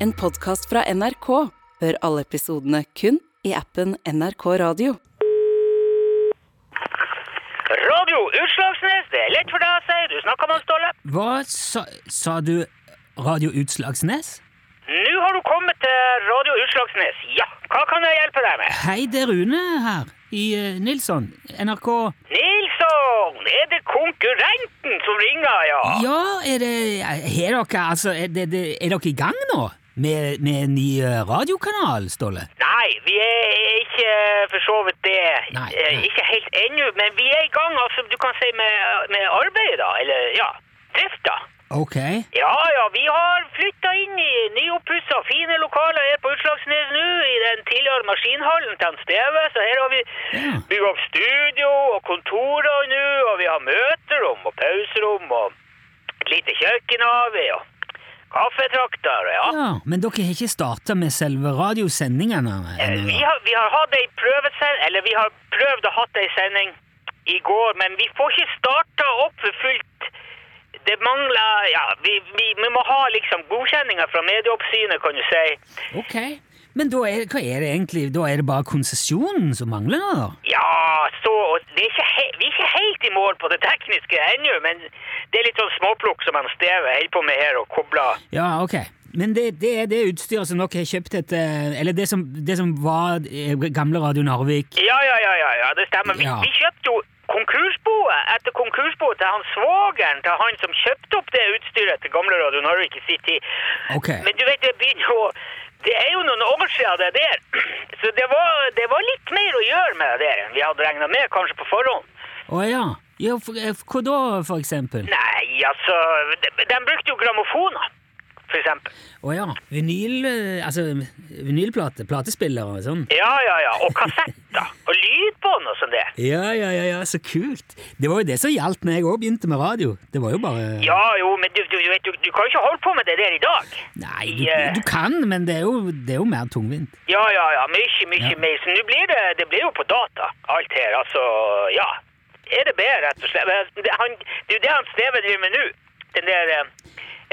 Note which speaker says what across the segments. Speaker 1: En podkast fra NRK. Hør alle episodene kun i appen NRK Radio.
Speaker 2: Radio Utslagsnes, det er lett for deg å si. Du snakker med han, Ståle.
Speaker 3: Hva sa, sa du Radio Utslagsnes?
Speaker 2: Nå har du kommet til Radio Utslagsnes. Ja, hva kan jeg hjelpe deg med?
Speaker 3: Hei, det er Rune her i eh, Nilsson. NRK
Speaker 2: Nilsson, er det konkurrenten som ringer, ja?
Speaker 3: Ja, er det Har dere altså er, det, det, er dere i gang nå? Med, med en ny eh, radiokanal, Ståle?
Speaker 2: Nei, vi er ikke eh, for så vidt det.
Speaker 3: Nei,
Speaker 2: Eh,
Speaker 3: nei.
Speaker 2: Ikke helt ennå, men vi er i gang, altså, du kan si med, med arbeidet, da. Eller, ja, drift, da.
Speaker 3: Ok.
Speaker 2: Ja, ja, vi har flytta inn i nyoppussa, fine lokaler her på Utslagsnes nå, i den tidligere maskinhallen til han Steve. Så her har vi
Speaker 3: Ja.
Speaker 2: bygd opp studio og kontorer nå, og vi har møterom og pauserom og et lite kjøkken har vi, og kaffetrakter, ja.
Speaker 3: Ja, Men dere har ikke starta med selve radiosendingene?
Speaker 2: Eh, Vi
Speaker 3: ennå?
Speaker 2: har, vi har hatt ei prøvesending, eller vi har prøvd å hatt ei sending i går, men vi får ikke starta opp for fullt. Det mangler Ja, vi, vi, vi må ha liksom godkjenninga fra Medieoppsynet, kan du si.
Speaker 3: Ok. Men da er, hva er det egentlig? Da er det bare konsesjonen som mangler nå, da?
Speaker 2: Ja, så og det er ikke he, Vi er ikke helt i mål på det tekniske ennå, men det er litt sånn småplukk som han Steve holder på med her, og kobler
Speaker 3: Ja, ok. Men det, det er det utstyret som dere har kjøpt etter Eller det som, det som var eh, gamle Radio Narvik?
Speaker 2: Ja, ja, ja, ja, ja det stemmer. Vi,
Speaker 3: Ja.
Speaker 2: vi kjøpte jo konkursboet etter konkursboet til han svogeren til han som kjøpte opp det utstyret til gamle Radio Norwich i sin tid.
Speaker 3: Ok.
Speaker 2: Men du vet, det begynner jo Det er jo noen år siden det der. Så det var, det var litt mer å gjøre med det der enn vi hadde regna med, kanskje på forhånd.
Speaker 3: Å ja. ja for, eh, hva da, for eksempel?
Speaker 2: Nei, altså De, de brukte jo grammofoner, for eksempel.
Speaker 3: Å ja. Vinyl, eh, altså, vinylplate. Platespillere og sånn.
Speaker 2: Ja, ja, ja. Og kassetter. Og lydbånd og sånn der.
Speaker 3: Ja, ja, ja, ja, så kult. Det var jo det som gjaldt når jeg òg begynte med radio. Det var jo bare
Speaker 2: Ja jo, men du, du, du vet, du, du kan jo ikke holde på med det der i dag.
Speaker 3: Nei, du,
Speaker 2: Ja.
Speaker 3: du kan, men det er jo, det er jo mer tungvint.
Speaker 2: Ja, ja, ja. Mye, mye
Speaker 3: Ja.
Speaker 2: mer. Så nå blir det, det blir jo på data, alt her. Altså, ja. EDB, rett og slett. Men Det, han, det er jo det han Steve driver med nå. Den der eh,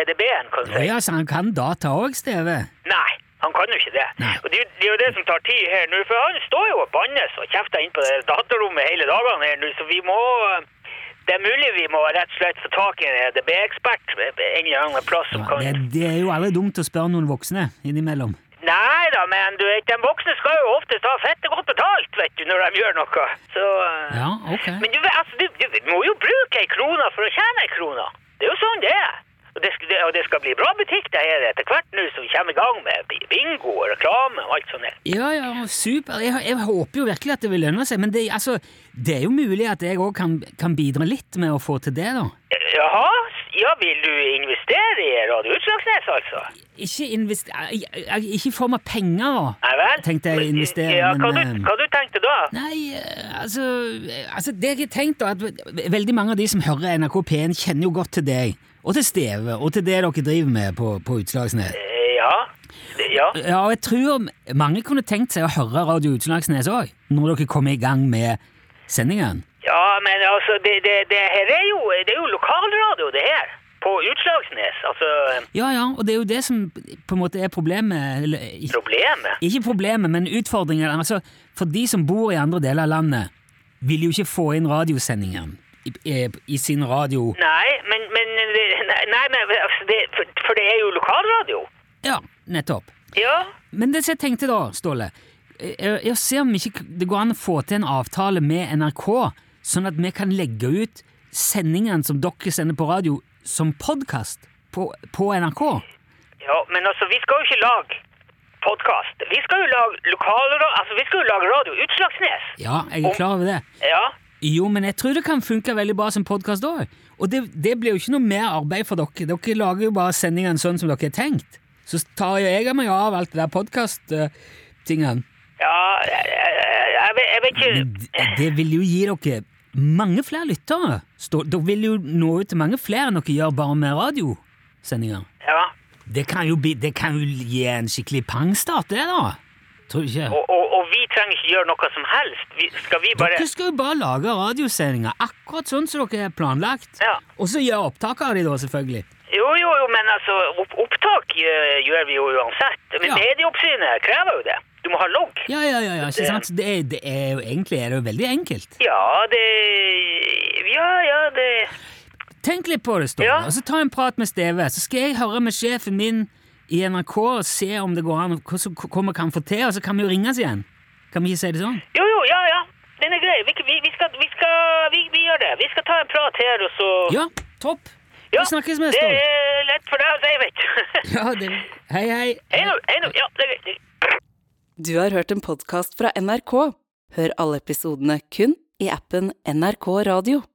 Speaker 2: EDB-en, kan du
Speaker 3: Å
Speaker 2: si.
Speaker 3: ja, så han kan data òg, Steve.
Speaker 2: Nei, han kan jo ikke det.
Speaker 3: Nei.
Speaker 2: Og det, er jo- det er jo det som tar tid her nå, for han står jo og bannes og kjefter inn på det der datarommet hele dagene her nå, så vi må eh, Det er mulig vi må rett og slett få tak i en EDB-ekspert en eller annen plass som
Speaker 3: Ja,
Speaker 2: kan
Speaker 3: det, det er jo aldri dumt å spørre noen voksne innimellom.
Speaker 2: Nei da, men du vet, de voksne skal jo ofte ta fette godt betalt, vet du, når de gjør noe. Så eh,
Speaker 3: Ja, ok.
Speaker 2: Men du, altså, du, du må jo bruke ei krone for å tjene ei krone. Det er jo sånn det er. Og det, skal, det, og det skal bli bra butikk det her etter hvert nå som vi kommer i gang med bi- bingo og reklame og alt sånt. der.
Speaker 3: Ja, ja, super. Jeg, jeg håper jo virkelig at det vil lønne seg, men det, altså, det er jo mulig at jeg òg kan, kan bidra litt med å få til det, da.
Speaker 2: Eh, Jaha? S- Ja, vil du investere i Radio Utslagsnes, altså?
Speaker 3: Ikke invest... eh, eh, Ikke i form av penger, da.
Speaker 2: Nei vel?
Speaker 3: Tenkte jeg investere,
Speaker 2: ja, hva
Speaker 3: men,
Speaker 2: du,
Speaker 3: eh,
Speaker 2: hva du tenkte da?
Speaker 3: Nei, eh, altså, eh, altså Det jeg har tenkt, da, at veldig mange av de som hører NRK P1, kjenner jo godt til deg. Og til Steve, og til det dere driver med på, på Utslagsnes.
Speaker 2: Eh, Ja. Det- ja.
Speaker 3: Ja, og jeg tror mange kunne tenkt seg å høre Radio Utslagsnes òg, når dere kommer i gang med sendingen.
Speaker 2: Ja, men altså, det, det, det her er jo, det er jo lokalradio, det her. På Utslagsnes. Altså,
Speaker 3: Ja, ja, og det er jo det som på en måte er problemet. Eller, ikke-
Speaker 2: problemet.
Speaker 3: Ikke problemet, men utfordringen. Altså, for de som bor i andre deler av landet, vil jo ikke få inn radiosendingen i, i, i sin radio.
Speaker 2: Nei, men, men, det- nei, nei, men altså, det, for, for det er jo lokalradio.
Speaker 3: Ja, nettopp.
Speaker 2: Ja.
Speaker 3: Men det som jeg tenkte da, Ståle, er er å se om ikke det går an å få til en avtale med NRK, sånn at vi kan legge ut sendingen som dere sender på radio, som podkast på, på NRK.
Speaker 2: ja, men altså, vi skal jo ikke lage podkast. Vi skal jo lage lokalradio, altså vi skal jo lage radio Utslagsnes.
Speaker 3: Ja, jeg er klar over det.
Speaker 2: Ja.
Speaker 3: Jo, men jeg tror det kan funke veldig bra som podkast òg. Og det, det blir jo ikke noe mer arbeid for dere. Dere lager jo bare sendingene sånn som dere har tenkt. Så tar jo jeg meg av alt det der podkast-tingene.
Speaker 2: Ja, jeg, jeg, jeg, vet- jeg vet ikke
Speaker 3: Det vil jo gi dere mange flere lyttere. Stå- Dere vil jo nå ut til mange flere enn dere gjør bare med radiosendinger.
Speaker 2: Ja.
Speaker 3: Det kan jo, bli, det kan jo gi en skikkelig pangstart, det, da. Tror du ikke?
Speaker 2: Og, og, og vi trenger ikke gjøre noe som helst. Vi, skal vi bare
Speaker 3: Dere skal jo bare lage radiosendinger akkurat sånn som dere har planlagt.
Speaker 2: Ja.
Speaker 3: Og så gjøre opptak av de, da, selvfølgelig.
Speaker 2: Jo, jo, jo, men altså, opp opptak eh, gjør vi jo uansett. Men
Speaker 3: Ja.
Speaker 2: Medieoppsynet krever jo det. Du må ha logg.
Speaker 3: Ja, ja, ja, ja ikke sant? Det er, det er jo egentlig er det jo veldig enkelt.
Speaker 2: Ja, det Ja, ja, det
Speaker 3: Tenk litt på det, Ståle,
Speaker 2: Ja.
Speaker 3: og så ta en prat med Steve. Så skal jeg høre med sjefen min i NRK og se om det går an, hva som kommer kan få til, og så kan vi jo ringes igjen. Kan vi ikke si det sånn?
Speaker 2: Jo, jo, ja, ja. Den er grei. Vi, vi, vi skal, vi, skal vi, vi gjør det. Vi skal ta en prat her, og så
Speaker 3: Ja, topp.
Speaker 2: Ja,
Speaker 3: Vi snakkes med,
Speaker 2: Det
Speaker 3: Ståle.
Speaker 2: er lett for deg å si, vet du.
Speaker 3: Ja, det... Hei, hei.
Speaker 2: Hei nå. Hei nå. Ja, det er greit.
Speaker 1: Du har hørt en podkast fra NRK. Hør alle episodene kun i appen NRK Radio.